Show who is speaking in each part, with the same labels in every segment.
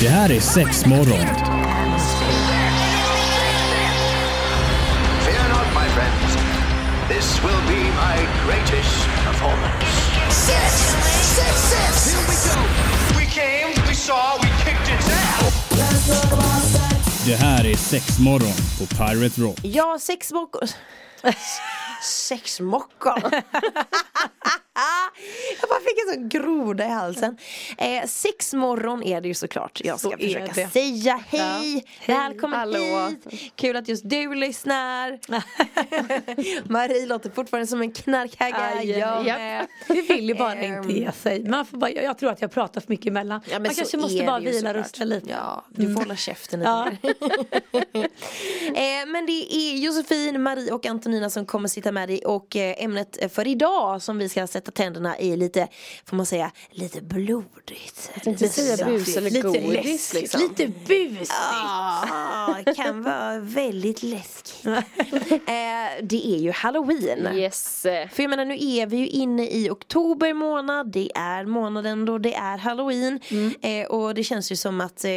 Speaker 1: Det här är sex morgon.
Speaker 2: Fear not, my friends. This will be my greatest performance.
Speaker 3: Six, six, six. Here we go.
Speaker 2: We came, we saw, we kicked its ass.
Speaker 1: Det här är sex morgon på Pirate Rock.
Speaker 4: Ja, sex mockor. sex mockor. jag bara fick en sån groda i halsen. Eh, sex morgon är det ju såklart. Jag ska
Speaker 5: Så är
Speaker 4: försöka
Speaker 5: det.
Speaker 4: säga hej.
Speaker 5: Hej.
Speaker 4: Välkommen
Speaker 5: Hallå.
Speaker 4: hit. Kul att just du lyssnar. Marie låter fortfarande som en knarkhagga.
Speaker 5: Aj,
Speaker 4: jag
Speaker 5: japp.
Speaker 4: med.
Speaker 5: Det vill ju bara inte
Speaker 4: Ehm.
Speaker 5: ge sig. Man får bara, jag, jag tror att jag pratar för mycket emellan.
Speaker 4: Ja, men
Speaker 5: man
Speaker 4: så
Speaker 5: kanske
Speaker 4: är
Speaker 5: måste
Speaker 4: det
Speaker 5: bara
Speaker 4: ju
Speaker 5: vila
Speaker 4: såklart.
Speaker 5: rösten lite.
Speaker 4: Ja, du får hålla käften lite.
Speaker 5: Ja.
Speaker 4: Eh, men det är Josefin, Marie och Antonina som kommer sitta med dig och eh, ämnet för idag som vi ska sätta tänderna i lite, får man säga, lite blodigt. Lite
Speaker 6: säga
Speaker 4: saftigt.
Speaker 6: bus eller
Speaker 5: Lite
Speaker 6: godis,
Speaker 5: läskigt,
Speaker 6: liksom.
Speaker 5: lite busigt.
Speaker 4: Ja, Ah, kan vara väldigt läskigt. eh, det är ju halloween.
Speaker 6: Yes.
Speaker 4: För jag menar nu är vi ju inne i oktober månad, det är månaden då det är halloween
Speaker 6: Mm.
Speaker 4: eh, Och det känns ju som att eh,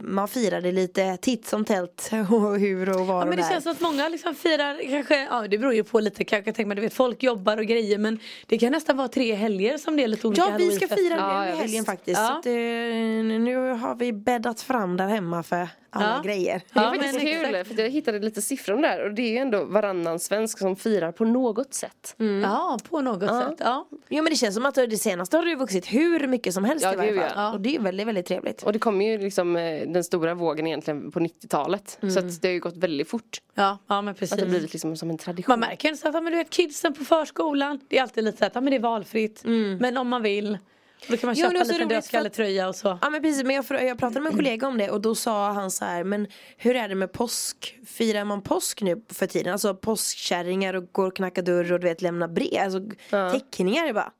Speaker 4: man firar det lite titt som tält och hur och var
Speaker 5: Ja, men
Speaker 4: och
Speaker 5: det
Speaker 4: där.
Speaker 5: känns som att många liksom firar kanske, ja det beror ju på lite kanske, tänk man, du vet folk jobbar och grejer men det kan nästan vara tre helger som det är lite olika
Speaker 4: Ja vi ska
Speaker 5: halloweenfester.
Speaker 4: fira
Speaker 6: Ja,
Speaker 4: det i
Speaker 6: ja,
Speaker 4: helgen
Speaker 6: visst.
Speaker 4: faktiskt
Speaker 5: Ja.
Speaker 4: så att, eh, Nu har vi bäddat fram där hemma för alla
Speaker 5: Ja.
Speaker 4: grejer Mm.
Speaker 5: Ja,
Speaker 6: Det är faktiskt
Speaker 5: men
Speaker 6: kul
Speaker 5: exakt.
Speaker 6: för jag hittade lite siffror där och det är ju ändå varannan svensk som firar på något sätt.
Speaker 5: Mm. Ja på något sätt. Ja.
Speaker 4: Jo men det känns som att det senaste har det ju vuxit hur mycket som helst
Speaker 6: Ja,
Speaker 4: i varje
Speaker 6: gud,
Speaker 4: fall
Speaker 6: ja.
Speaker 4: Och det är väldigt väldigt trevligt
Speaker 6: Och det kom ju liksom eh, den stora vågen egentligen på 90-talet. Så att det har ju gått väldigt fort.
Speaker 5: Ja, ja men precis.
Speaker 6: Att det har blivit liksom som en tradition.
Speaker 5: Man märker ju så att ja, Mm. men du vet, kidsen på förskolan, det är alltid lite så att ja, men det är valfritt. Men om man vill, då kan
Speaker 4: Mm.
Speaker 5: man
Speaker 4: Jo, men
Speaker 5: köpa
Speaker 4: det är
Speaker 5: en
Speaker 4: så
Speaker 5: liten
Speaker 4: roligt för att-
Speaker 5: dödskalletröja och så.
Speaker 4: Ja men precis, men jag, frå- jag pratade med en kollega om det och då sa han så här Men hur är det med påsk? Firar man påsk nu för tiden? Alltså påskkärringar och går och knackar dörr och du vet lämnar brev, alltså teckningar jag bara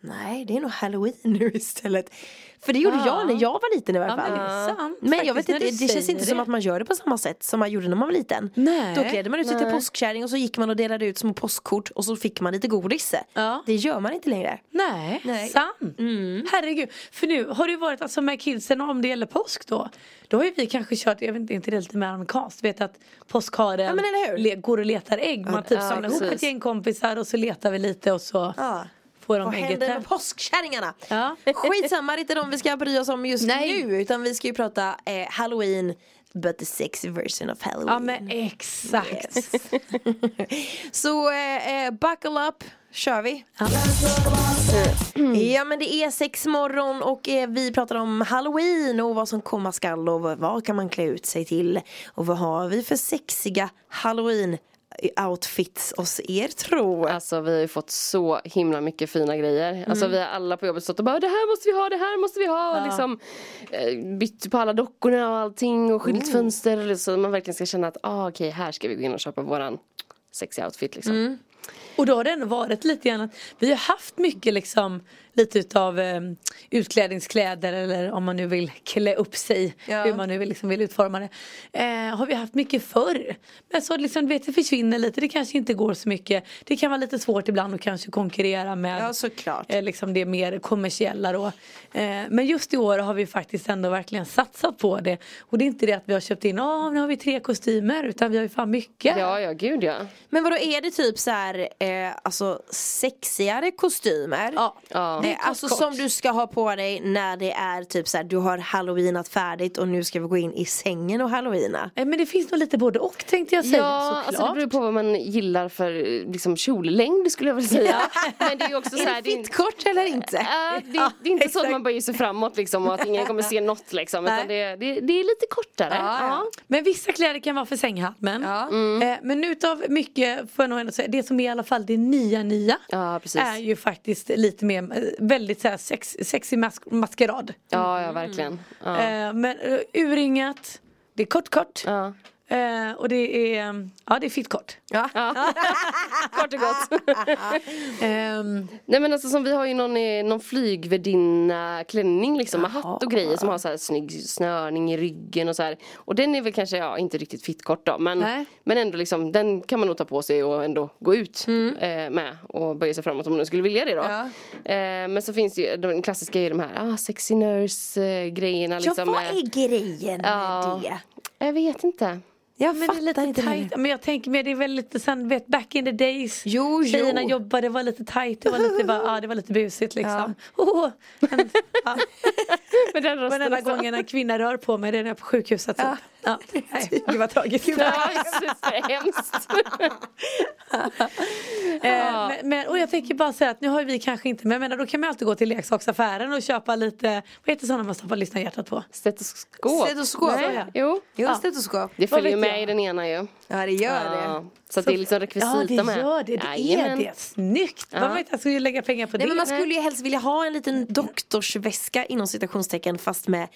Speaker 4: Nej det är nog halloween nu istället För det gjorde jag när jag var liten i alla
Speaker 5: Ja,
Speaker 4: fall
Speaker 5: men det är sant
Speaker 4: Men jag vet
Speaker 5: faktiskt, när
Speaker 4: inte, det
Speaker 5: du
Speaker 4: känns
Speaker 5: säger
Speaker 4: inte som
Speaker 5: det.
Speaker 4: att man gör det på samma sätt som man gjorde när man var liten
Speaker 5: Nej.
Speaker 4: Då klädde man ut sig till påskkärring och så gick man och delade ut små påskkort och så fick man lite godis
Speaker 5: Ja.
Speaker 4: Det gör man inte längre
Speaker 5: Nej,
Speaker 4: Nej. Mm.
Speaker 5: sant. Herregud. För nu har det ju varit alltså med kidsen om det gäller påsk då. Då har ju vi kanske kört, jag vet inte, inte det är lite mer amerikanskt. Du vet att påskharen
Speaker 4: Ja, men eller hur?
Speaker 5: le- går och letar ägg. Man typ
Speaker 6: ja,
Speaker 5: samlar ihop
Speaker 6: precis.
Speaker 5: ett gäng kompisar och så letar vi lite och så
Speaker 4: Ja.
Speaker 5: får de
Speaker 4: Vad
Speaker 5: ägget
Speaker 4: händer
Speaker 5: där.
Speaker 4: med påskkärringarna?
Speaker 5: Ja.
Speaker 4: Skitsamma, det är inte de vi ska bry oss om just
Speaker 5: Nej.
Speaker 4: nu utan vi ska ju prata eh, halloween but the sexy version of halloween.
Speaker 5: Ja men exakt.
Speaker 4: Så eh, eh, buckle up, kör vi.
Speaker 5: Ja. Mm.
Speaker 4: Ja men det är sex morgon och eh, vi pratar om halloween och vad som komma skall och vad, vad kan man klä ut sig till. Och vad har vi för sexiga halloween eh, outfits hos er tro?
Speaker 6: Alltså vi har ju fått så himla mycket fina grejer. Alltså vi har alla på jobbet stått och bara det här måste vi ha, det här måste vi ha. Och liksom, eh, bytt på alla dockorna och allting och skyltfönster. Så man verkligen ska känna att ah, okej här ska vi gå in och köpa våran sexy outfit liksom.
Speaker 5: Och då har det ändå varit lite grann att vi har haft mycket liksom lite utav eh, utklädningskläder eller om man nu vill klä upp sig
Speaker 4: Ja.
Speaker 5: hur man nu vill, liksom, vill utforma det. Eh, har vi haft mycket förr. Men så liksom du vet det försvinner lite, det kanske inte går så mycket. Det kan vara lite svårt ibland att kanske konkurrera med
Speaker 4: Ja, såklart.
Speaker 5: eh, liksom det mer kommersiella då. Eh, men just i år har vi faktiskt ändå verkligen satsat på det. Och det är inte det att vi har köpt in, ah, nu har vi tre kostymer utan vi har ju fan mycket.
Speaker 6: Ja, ja gud ja.
Speaker 4: Men vadå är det typ så här, eh, alltså sexigare kostymer?
Speaker 5: Ja.
Speaker 6: Ja.
Speaker 4: Eh, alltså
Speaker 5: kort.
Speaker 4: som du ska ha på dig när det är typ så här, du har halloweenat färdigt och nu ska vi gå in i sängen och halloweena.
Speaker 5: Eh, Men det finns nog lite både och tänkte jag säga
Speaker 6: Ja,
Speaker 5: såklart.
Speaker 6: alltså det beror på vad man gillar för eh, liksom, kjollängd skulle jag vilja säga. Men det är ju också så här,
Speaker 4: är det
Speaker 6: det är inte-
Speaker 4: fittkort eller inte?
Speaker 6: Äh, det, det är inte så att man bara ger sig framåt liksom och att ingen kommer se något liksom. Utan det, det, det är lite kortare. Ja.
Speaker 5: Men vissa kläder kan vara för sänghalmen. Eh, Men utav mycket får jag nog ändå säga, det som är i alla fall det nya nya.
Speaker 6: Ja, precis.
Speaker 5: Är ju faktiskt lite mer, eh, väldigt så här sex, sexig mask- maskerad.
Speaker 6: Mm. Ja, ja verkligen. Ja.
Speaker 5: Eh, Men eh, urringat, det är kort kort.
Speaker 6: Ja.
Speaker 5: Eh, och det är, ja det är fitt kort.
Speaker 6: Ja. Kort och gott.
Speaker 5: Ehm,
Speaker 6: Nej men alltså som vi har ju någon, eh, någon flygvärdinna klänning liksom med hatt och grejer som har så här snygg snörning i ryggen och så här. Och den är väl kanske, ja inte riktigt fittkort då men,
Speaker 5: Nej.
Speaker 6: men ändå liksom den kan man nog ta på sig och ändå gå ut eh, med och böja sig framåt om man nu skulle vilja det då. Eh, men så finns det ju, den klassiska är ju de här ah, sexy nurse eh, grejerna
Speaker 4: Ja,
Speaker 6: liksom.
Speaker 4: vad
Speaker 6: eh.
Speaker 4: är grejen med
Speaker 6: Ja.
Speaker 4: det?
Speaker 6: Jag vet inte.
Speaker 4: Jag
Speaker 5: men det är
Speaker 4: fattar
Speaker 5: lite
Speaker 4: inte det nu.
Speaker 5: tight. Men jag tänker mer det är väl lite sen vet back in the days.
Speaker 4: Jo, jo.
Speaker 5: Tjejerna jobbade, det var lite tight, det var lite, bara, ja, det var lite busigt liksom. Oh, en, ja.
Speaker 6: Men den
Speaker 5: Men
Speaker 6: rösten
Speaker 5: enda
Speaker 6: också.
Speaker 5: gången en kvinna rör på mig det är när jag är på sjukhuset. Typ. Ja. Nej,
Speaker 4: typ-
Speaker 5: gud vad tragiskt.
Speaker 6: Ja, Jesus, det är hemskt.
Speaker 5: Eh, men, men, och jag tänker bara säga att nu har ju vi kanske inte, men jag menar, då kan man alltid gå till leksaksaffären och köpa lite, vad heter sådana man stoppar lyssnarhjärtat på?
Speaker 6: Stetoskop.
Speaker 4: Stetoskop,
Speaker 6: Nej,
Speaker 4: ja.
Speaker 6: Jo.
Speaker 4: Jo,
Speaker 5: Ja.
Speaker 4: stetoskop.
Speaker 6: Det följer ju
Speaker 5: vet
Speaker 6: med
Speaker 5: jag?
Speaker 6: i den ena ju.
Speaker 4: Ja, det gör
Speaker 6: Ja,
Speaker 4: det.
Speaker 6: Så att det är liksom rekvisita
Speaker 5: Ja det
Speaker 6: med.
Speaker 5: gör det, det är
Speaker 6: Jajamän.
Speaker 5: det. Snyggt!
Speaker 6: Ja.
Speaker 5: Man vet, jag skulle ju lägga pengar på
Speaker 4: Nej,
Speaker 5: det.
Speaker 4: men man skulle ju helst vilja ha en liten doktorsväska inom citationstecken fast med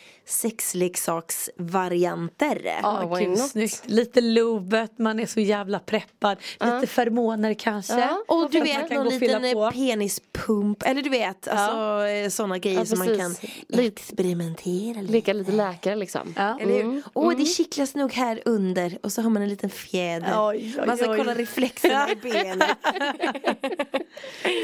Speaker 4: sexleksaksvarianter.
Speaker 5: Ja,
Speaker 6: Ja, why
Speaker 5: gud,
Speaker 6: not?
Speaker 5: snyggt. Lite lobet, man är så jävla preppad. Lite förmåner kanske.
Speaker 6: Ja.
Speaker 4: Och du
Speaker 5: Man
Speaker 4: vet
Speaker 5: kan
Speaker 4: någon
Speaker 5: gå och fylla
Speaker 4: liten eh,
Speaker 5: på.
Speaker 4: penispump eller du vet alltså sådana grejer
Speaker 6: Ja,
Speaker 4: som man kan
Speaker 6: precis. Lite-
Speaker 4: experimentera lite.
Speaker 6: Leka lite läkare liksom.
Speaker 5: Ja.
Speaker 4: Eller hur? Åh, det kittlas nog här under och så har man en liten fjäder.
Speaker 5: Oj, oj,
Speaker 4: man ska
Speaker 5: oj.
Speaker 4: kolla reflexerna i benet.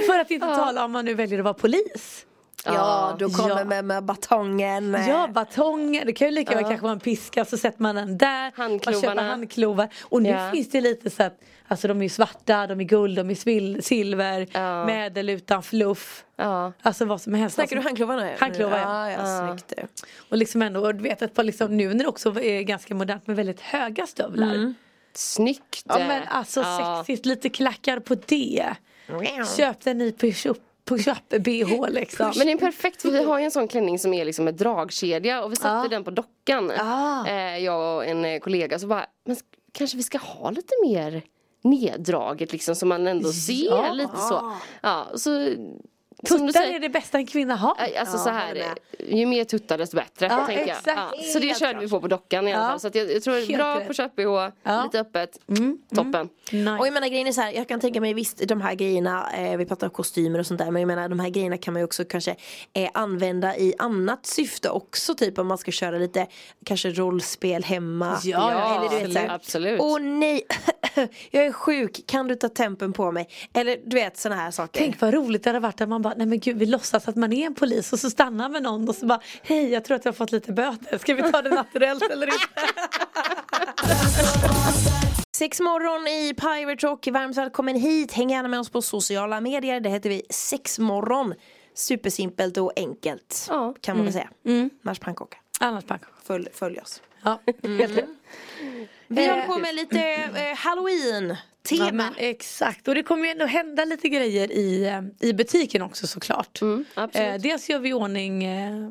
Speaker 5: För att inte tala om man nu väljer att vara polis.
Speaker 4: Ja, då kommer
Speaker 5: Ja.
Speaker 4: med, med batongen.
Speaker 5: Ja, batonger. Det kan ju lika väl kanske vara en piska så sätter man den där.
Speaker 6: Handklovarna.
Speaker 5: Man köper handklovar. Och nu
Speaker 6: Ja.
Speaker 5: finns det lite så att alltså de är ju svarta, de är guld, de är svil- silver.
Speaker 6: Ja.
Speaker 5: Med eller utan fluff.
Speaker 6: Ja.
Speaker 5: Alltså vad som helst.
Speaker 4: Snackar du
Speaker 5: alltså,
Speaker 4: handklovarna? nu?
Speaker 5: Handklovar, ja.
Speaker 4: ja. ja, snyggt du.
Speaker 5: och liksom ändå, och du vet ett par liksom, nu när det också är ganska modernt med väldigt höga stövlar.
Speaker 4: Mm.
Speaker 6: Snyggt.
Speaker 5: Ja men alltså
Speaker 6: eh, Ja.
Speaker 5: sexigt, lite klackar på det. Köp den i push-up, push-up-bh liksom.
Speaker 6: Men det är perfekt för vi har ju en sån klänning som är liksom med dragkedja och vi satte den på dockan.
Speaker 5: Ah.
Speaker 6: Eh, jag och en eh, kollega så bara, men sk- kanske vi ska ha lite mer neddraget liksom så man ändå ser
Speaker 5: Ja.
Speaker 6: lite så. Ja, så som du
Speaker 5: Tuttar
Speaker 6: säger,
Speaker 5: är det bästa en kvinna har.
Speaker 6: Aj, Alltså så här,
Speaker 4: håller med.
Speaker 6: ju mer tuttar desto bättre.
Speaker 5: eh, Ja,
Speaker 6: tänker jag.
Speaker 5: exakt.
Speaker 6: Ja, så det
Speaker 5: Helt
Speaker 6: körde vi på på dockan i alla
Speaker 5: Ja.
Speaker 6: fall. Så att jag, jag tror det är
Speaker 5: Helt
Speaker 6: bra
Speaker 5: rätt. Mm,
Speaker 6: på köp-bh, lite öppet, toppen.
Speaker 5: Nice.
Speaker 4: Och jag menar grejen är så här, jag kan tänka mig visst de här grejerna, eh, vi pratar om kostymer och sånt där men jag menar de här grejerna kan man ju också kanske eh, använda i annat syfte också typ om man ska köra lite kanske rollspel hemma.
Speaker 5: Ja, ja,
Speaker 4: eller du vet så här,
Speaker 6: absolut.
Speaker 4: Åh nej, jag är sjuk, kan du ta tempen på mig? Eller du vet sådana här saker.
Speaker 5: Tänk vad roligt det hade varit att man bara, nej men gud vi låtsas att man är en polis och så stannar med någon och så bara, hej jag tror att jag har fått lite böter, ska vi ta det naturellt eller inte?
Speaker 4: Sex morgon i Pirate Rock, varmt välkommen hit. Häng gärna med oss på sociala medier, det heter vi Sexmorgon. Supersimpelt och enkelt
Speaker 6: Ja.
Speaker 4: kan man väl säga. Mars pannkaka.
Speaker 5: Annars pannkaka.
Speaker 4: Följ, följ oss.
Speaker 5: Ja, helt rätt.
Speaker 4: Vi håller på med lite eh, halloween-tema.
Speaker 5: Ja, men exakt, och det kommer ju ändå hända lite grejer i, eh, i butiken också såklart.
Speaker 6: Mm, absolut.
Speaker 5: Eh, dels gör vi i ordning eh,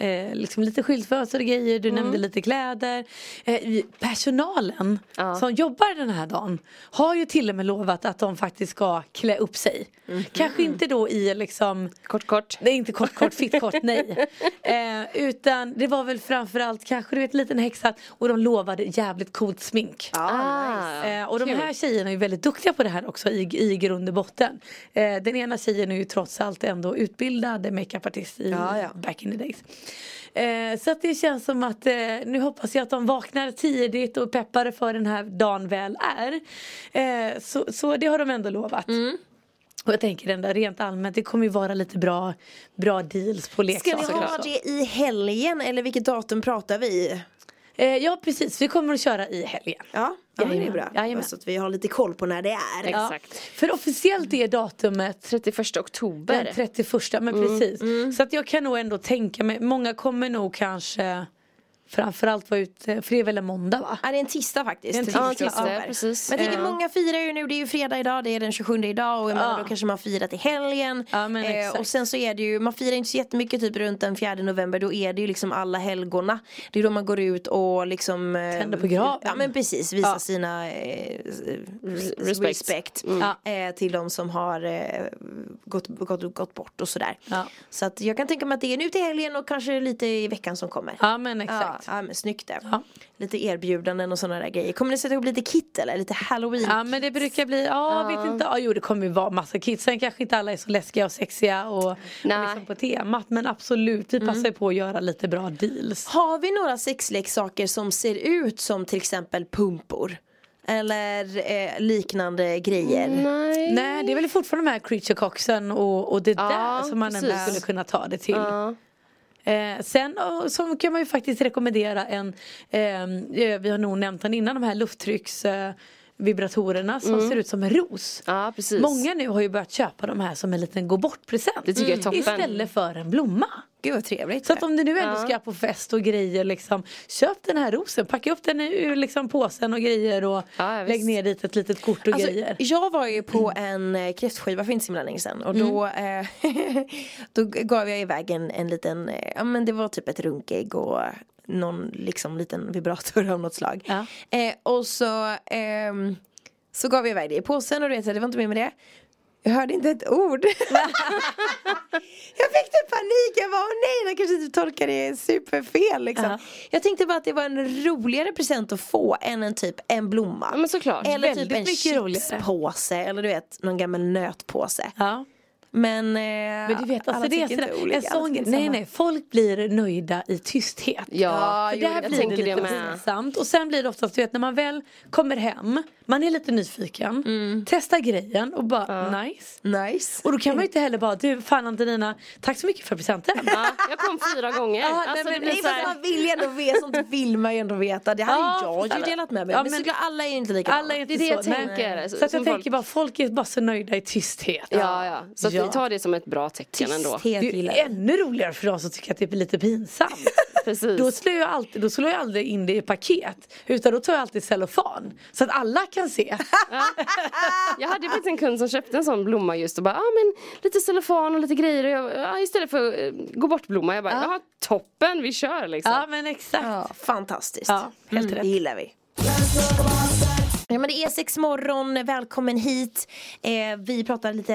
Speaker 5: eh, liksom lite skyltfönster och grejer,
Speaker 6: Mm.
Speaker 5: du nämnde lite kläder. Eh, i- personalen som jobbar den här dagen har ju till och med lovat att de faktiskt ska klä upp sig. Kanske inte då i liksom
Speaker 6: Mm. Kort kort.
Speaker 5: Nej inte kort kort, fitt kort, nej. Eh, utan det var väl framförallt kanske du vet en liten häxa och de lovade jävligt coolt smink.
Speaker 6: Ah,
Speaker 5: Eh, och de här tjejerna är ju väldigt duktiga på det här också i, i grund och botten. Eh, den ena tjejen är ju trots allt ändå utbildad makeupartist i
Speaker 4: Ja, ja.
Speaker 5: back in the days. Eh, så att det känns som att eh, nu hoppas jag att de vaknar tidigt och är peppade för den här dagen väl är. Eh, så, så det har de ändå lovat.
Speaker 4: Mm.
Speaker 5: Och jag tänker ändå rent allmänt det kommer ju vara lite bra, bra deals på
Speaker 4: Ska
Speaker 5: leksaker
Speaker 4: ni ha
Speaker 5: också.
Speaker 4: det i helgen eller vilket datum pratar vi?
Speaker 5: Eh, ja precis, vi kommer att köra i helgen.
Speaker 4: Ja, ja men det är bra.
Speaker 5: Jajamän.
Speaker 4: Så att vi har lite koll på när det är.
Speaker 6: Ja.
Speaker 5: Ja.
Speaker 6: Exakt.
Speaker 5: För officiellt är datumet
Speaker 6: 31 oktober.
Speaker 5: Den 31, men precis. Så att jag kan nog ändå tänka mig, många kommer nog kanske framförallt vara ute, för det är väl en måndag va?
Speaker 4: Ja, det är en tisdag faktiskt.
Speaker 5: Det är en tisdag. Eh.
Speaker 4: Ja, tisdag.
Speaker 6: Ja, precis.
Speaker 4: Men jag tänker
Speaker 5: Ja.
Speaker 4: många firar ju nu, det är ju fredag idag, det är den 27 idag och jag menar, då kanske man firar till helgen. Eh,
Speaker 5: Ja, men exakt.
Speaker 4: och sen så är det ju, man firar inte så jättemycket typ runt den 4 november, då är det ju liksom alla helgona. Det är då man går ut och liksom eh,
Speaker 5: Tänder på graven.
Speaker 4: Ja men precis, visar
Speaker 5: Ja.
Speaker 4: sina eh, respect,
Speaker 6: respect.
Speaker 5: Mm.
Speaker 4: eh, till de som har eh, gått, gått, gått bort och sådär.
Speaker 5: Ja.
Speaker 4: Så att jag kan tänka mig att det är nu till helgen och kanske lite i veckan som kommer.
Speaker 5: Ja men exakt. Exakt.
Speaker 4: Ja, men snyggt det.
Speaker 5: Ja.
Speaker 4: Lite erbjudanden och sådana där grejer. Kommer ni sätta ihop lite kit eller? Lite halloween?
Speaker 5: Ja men det brukar bli, ja vet inte, ja jo det kommer ju vara massa kids. Sen kanske inte alla är så läskiga och sexiga och, och
Speaker 6: Nej.
Speaker 5: liksom på temat. Men absolut, vi passar ju på att göra lite bra deals.
Speaker 4: Har vi några sexleksaker som ser ut som till exempel pumpor? Eller eh, liknande grejer?
Speaker 6: Nej.
Speaker 5: Nej det är väl fortfarande de här creature coxen och, och det
Speaker 6: Ja,
Speaker 5: där som man ändå
Speaker 6: precis.
Speaker 5: skulle kunna ta det till.
Speaker 6: Ja.
Speaker 5: Eh, sen och, så kan man ju faktiskt rekommendera en, ehm, eh, vi har nog nämnt den innan, de här lufttrycks eh, vibratorerna som ser ut som en ros.
Speaker 6: Mm. ja, precis.
Speaker 5: Många nu har ju börört köpa de här som en liten gå bort-present.
Speaker 6: Det tycker jag är toppen.
Speaker 5: Istället för en blomma.
Speaker 4: Gud vad trevligt.
Speaker 5: Så att om du nu ändå ska på fest och grejer liksom Köp den här rosen, packa upp den ur liksom påsen och grejer och
Speaker 6: Ja, ja,
Speaker 5: Lägg
Speaker 6: visst.
Speaker 5: ner dit ett litet kort och
Speaker 4: Alltså,
Speaker 5: grejer
Speaker 4: jag var ju på en eh, kräftskiva för inte så himla länge sedan och då, eh, då g- gav jag iväg en, en liten, eh, ja men det var typ ett runkägg och någon liksom liten vibrator av något slag.
Speaker 5: Ja.
Speaker 4: Eh, och så, ehm, så gav jag iväg det i påsen och du vet, så det var inte mer med det. Jag hörde inte ett ord. jag fick typ panik, jag var nej, jag kanske inte tolkar det superfel liksom.
Speaker 5: Ja.
Speaker 4: Jag tänkte bara att det var en roligare present att få än en typ en blomma.
Speaker 6: Ja, men såklart.
Speaker 4: Eller typ
Speaker 5: Väldigt
Speaker 4: en
Speaker 5: mycket roligare.
Speaker 4: chipspåse eller du vet någon gammal nötpåse.
Speaker 5: Ja.
Speaker 4: Men, eh,
Speaker 5: Men du vet
Speaker 4: alla
Speaker 5: alltså det är
Speaker 4: tycker inte
Speaker 5: sådär,
Speaker 4: olika,
Speaker 5: en
Speaker 4: alla
Speaker 5: sån
Speaker 4: tycker
Speaker 5: Nej
Speaker 4: samma.
Speaker 5: nej, folk blir nöjda i tysthet
Speaker 6: Ja,
Speaker 5: För
Speaker 6: jo,
Speaker 5: där
Speaker 6: jag
Speaker 5: blir det
Speaker 6: tänker det
Speaker 5: lite
Speaker 6: med.
Speaker 5: pinsamt och sen blir det oftast du vet när man väl kommer hem Man är lite nyfiken,
Speaker 4: Mm.
Speaker 5: testar grejen och bara nice
Speaker 4: Nice.
Speaker 5: Och då kan man ju inte heller bara du fan Antonina, tack så mycket för presenten
Speaker 6: Ja, jag kom fyra gånger.
Speaker 5: Ja, nej,
Speaker 6: alltså,
Speaker 5: men
Speaker 6: det blir
Speaker 4: Nej
Speaker 6: så
Speaker 4: fast
Speaker 6: här,
Speaker 4: man vill ju ändå veta, sånt vill man ju ändå veta. Det hade
Speaker 5: Ja,
Speaker 4: jag ju
Speaker 5: alla.
Speaker 4: delat med mig.
Speaker 5: Ja,
Speaker 4: men,
Speaker 5: men-
Speaker 4: såklart alla är ju inte likadana.
Speaker 5: Alla är inte
Speaker 6: det är det
Speaker 5: så,
Speaker 6: jag
Speaker 5: nej.
Speaker 6: tänker,
Speaker 5: Så
Speaker 6: som
Speaker 5: att jag
Speaker 6: folk-
Speaker 5: tänker bara folk är bara så nöjda i tysthet.
Speaker 6: ja, ja. Så att vi tar det som ett bra tecken ändå.
Speaker 4: Tysthet
Speaker 5: Det är
Speaker 4: gillar
Speaker 5: ju
Speaker 4: jag.
Speaker 5: ännu roligare för de som tycker att det är lite pinsamt.
Speaker 6: Precis.
Speaker 5: Då slår, jag alltid, då slår jag aldrig in det i paket utan då tar jag alltid cellofan så att alla kan se.
Speaker 6: Jag hade faktiskt en kund som köpte en sån blomma just och bara, ah, men lite cellofan och lite grejer och jag, ah, istället för eh, gå bort blomma, jag bara, ja toppen, vi kör liksom.
Speaker 5: Ja men exakt.
Speaker 4: Ja, fantastiskt.
Speaker 5: Ja, helt
Speaker 4: mm,
Speaker 5: rätt.
Speaker 4: Det gillar vi. Ja, men det är sex morgon, välkommen hit. Eh, vi pratar lite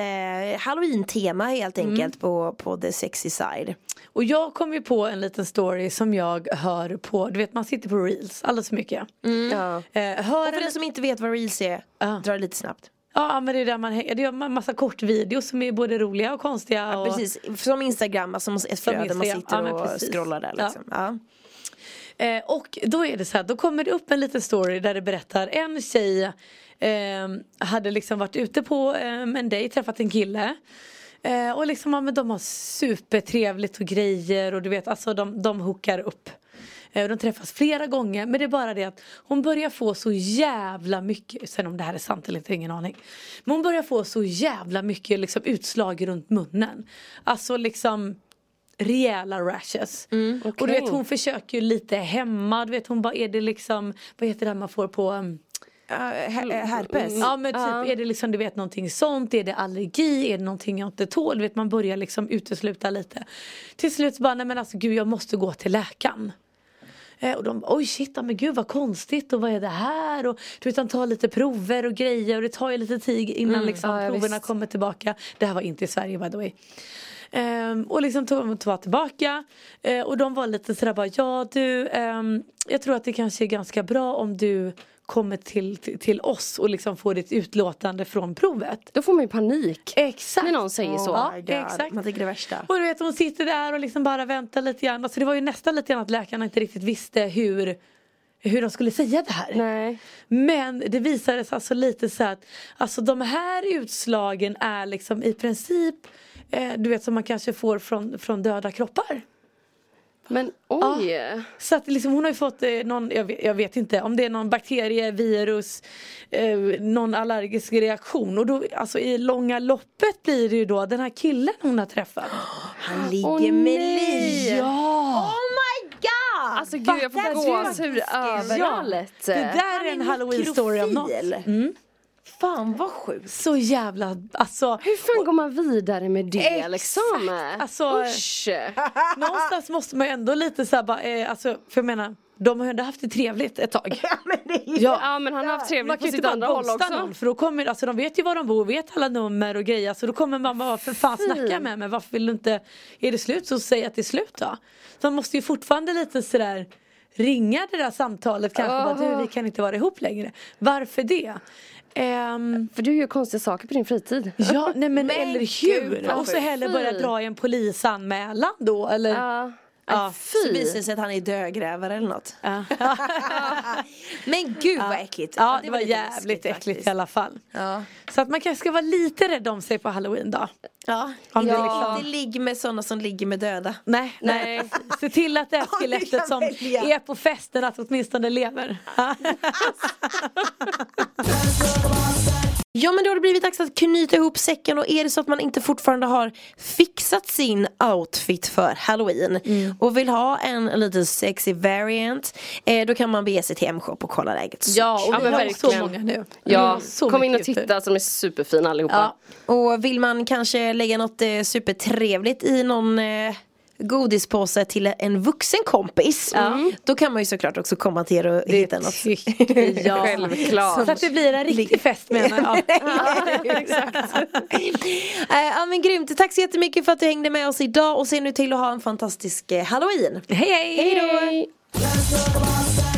Speaker 4: halloween-tema helt
Speaker 5: Mm.
Speaker 4: enkelt på, på the sexy side.
Speaker 5: Och jag kom ju på en liten story som jag hör på, du vet man sitter på reels alldeles för mycket.
Speaker 6: Ja.
Speaker 5: Eh, hör
Speaker 4: Mm. För
Speaker 5: en-
Speaker 4: den som inte vet vad reels är,
Speaker 5: Ja.
Speaker 4: dra det lite snabbt.
Speaker 5: Ja men det är där man hänger, det är en massa kortvideos som är både roliga och konstiga. Och...
Speaker 4: Precis, som Instagram, alltså ett
Speaker 5: Som
Speaker 4: flöde man
Speaker 5: Instagram,
Speaker 4: sitter
Speaker 5: ja, men
Speaker 4: och
Speaker 5: precis.
Speaker 4: scrollar där liksom. Ja.
Speaker 5: Eh, och då är det så här, då kommer det upp en liten story där det berättar en tjej eh, hade liksom varit ute på eh, en dejt, träffat en kille. Eh, och liksom, ja, men de har supertrevligt och grejer och du vet, alltså de, de hookar upp. Eh, och de träffas flera gånger men det är bara det att hon börjar få så jävla mycket, sen om det här är sant eller inte, ingen aning. Men hon börjar få så jävla mycket liksom, utslag runt munnen. Alltså liksom rejäla rashes. Och du vet hon försöker ju lite hemma, du vet hon bara är det liksom, vad heter det här man får på um,
Speaker 4: Ja, her- eh, herpes.
Speaker 5: Ja men typ är det liksom du vet någonting sånt, är det allergi, är det någonting jag inte tål, du vet man börjar liksom utesluta lite. Till slut så bara nej men alltså gud jag måste gå till läkaren. Eh, Och de bara, oj shit, ja, men gud vad konstigt och vad är det här? Och, du vet, han tar lite prover och grejer och det tar ju lite tid innan liksom,
Speaker 6: Mm, ja, ja,
Speaker 5: proverna
Speaker 6: visst.
Speaker 5: kommer tillbaka. Det här var inte i Sverige by the way. Ehm, och liksom tog de tog tillbaka Eh, och de var lite sådär bara, ja du, ehm, jag tror att det kanske är ganska bra om du kommer till, till, till oss och liksom får ditt utlåtande från provet.
Speaker 6: Då får man ju panik.
Speaker 5: Exakt.
Speaker 6: När någon säger så.
Speaker 5: Ja,
Speaker 4: Oh my God.
Speaker 5: exakt.
Speaker 4: Man tycker det värsta.
Speaker 5: Och du vet hon sitter där och liksom bara väntar lite grann. Alltså det var ju nästan lite grann att läkarna inte riktigt visste hur, hur de skulle säga det här.
Speaker 6: Nej.
Speaker 5: Men det visades alltså lite så att alltså de här utslagen är liksom i princip eh, du vet som man kanske får från, från döda kroppar.
Speaker 6: Men oj.
Speaker 5: Så att liksom hon har ju fått eh, någon, jag vet, jag vet inte om det är någon bakterie, virus, eh, någon allergisk reaktion. Och då, alltså i långa loppet blir det ju då den här killen hon har träffat.
Speaker 4: Han ligger
Speaker 6: Åh,
Speaker 4: med
Speaker 6: nej.
Speaker 4: Li.
Speaker 5: Ja!
Speaker 4: Oh my god!
Speaker 6: Alltså gud jag får gåshud Alltså, överallt.
Speaker 5: Det där är en halloween story om något. Mm.
Speaker 4: Mikrofil. Fan vad sjukt.
Speaker 5: Så jävla, alltså
Speaker 6: Hur fan går man vidare med det
Speaker 5: Exakt.
Speaker 6: liksom?
Speaker 5: Alltså-
Speaker 6: Usch.
Speaker 5: någonstans måste man ju ändå lite såhär bara, eh, alltså för jag menar de har ju ändå haft det trevligt ett tag.
Speaker 6: Ja men han har haft
Speaker 5: Man
Speaker 6: trevligt
Speaker 5: kan
Speaker 6: på
Speaker 5: ju inte
Speaker 6: sitt
Speaker 5: bara
Speaker 6: andra håll
Speaker 5: ghosta
Speaker 6: också.
Speaker 5: någon för då kommer, alltså de vet ju var de bor, vet alla nummer och grejer så då kommer mamma bara för fan snacka med mig varför vill du inte, är det slut så säg att det är slut då. Så man måste ju fortfarande lite sådär ringa det där samtalet kanske. Bara,
Speaker 6: Aha.
Speaker 5: du, vi kan inte vara ihop längre. Varför det? Ehm,
Speaker 6: För du gör konstiga saker på din fritid.
Speaker 5: Ja, nej men,
Speaker 4: Men
Speaker 5: eller hur?
Speaker 4: gud, vad
Speaker 5: och så
Speaker 4: sjukt.
Speaker 5: hellre börja
Speaker 6: Fy.
Speaker 5: dra i en polisanmälan då eller?
Speaker 6: Ja.
Speaker 5: Ja,
Speaker 6: Ja,
Speaker 4: Så
Speaker 6: fy!
Speaker 4: visar det sig att han är dödgrävare eller något.
Speaker 5: Ja.
Speaker 4: Men gud vad äckligt.
Speaker 5: Ja, det var
Speaker 4: lite
Speaker 5: jävligt
Speaker 4: läskigt
Speaker 5: äckligt
Speaker 4: faktiskt.
Speaker 5: i alla fall.
Speaker 4: Ja.
Speaker 5: Så att man kanske ska vara lite rädd om sig på halloween då.
Speaker 4: Ja,
Speaker 5: Om
Speaker 4: inte,
Speaker 5: det liksom-
Speaker 4: inte ligg med sådana som ligger med döda.
Speaker 5: Nej, nej. precis. Se till att det här
Speaker 4: Om du
Speaker 5: skelettet
Speaker 4: kan
Speaker 5: som
Speaker 4: välja.
Speaker 5: är på festen att åtminstone lever.
Speaker 4: Ja men då har det blivit dags att knyta ihop säcken och är det så att man inte fortfarande har fixat sin outfit för halloween
Speaker 5: Mm.
Speaker 4: och vill ha en lite sexy variant eh, då kan man bege sig till M-shop och kolla läget.
Speaker 5: Ja, och
Speaker 6: Ja,
Speaker 5: vi
Speaker 6: men
Speaker 5: har så
Speaker 6: verkligen.
Speaker 5: många nu. Vi har
Speaker 6: Ja,
Speaker 5: så
Speaker 6: Mm. kom in och
Speaker 5: mycket typ. ute.
Speaker 6: titta, alltså, de är superfina allihopa.
Speaker 5: Ja.
Speaker 4: Och vill man kanske lägga något eh, supertrevligt i någon eh, godispåse till en vuxen kompis Mm. då kan man ju såklart också komma till er och hitta något.
Speaker 5: tycker jag.
Speaker 6: Självklart.
Speaker 5: Så att det blir en riktig fest menar jag.
Speaker 4: Eh, Ja men grymt, tack så jättemycket för att du hängde med oss idag och se nu till att ha en fantastisk eh, halloween.
Speaker 5: Hej hej!
Speaker 4: Hej då!
Speaker 6: Hej.
Speaker 3: Let's talk about sex.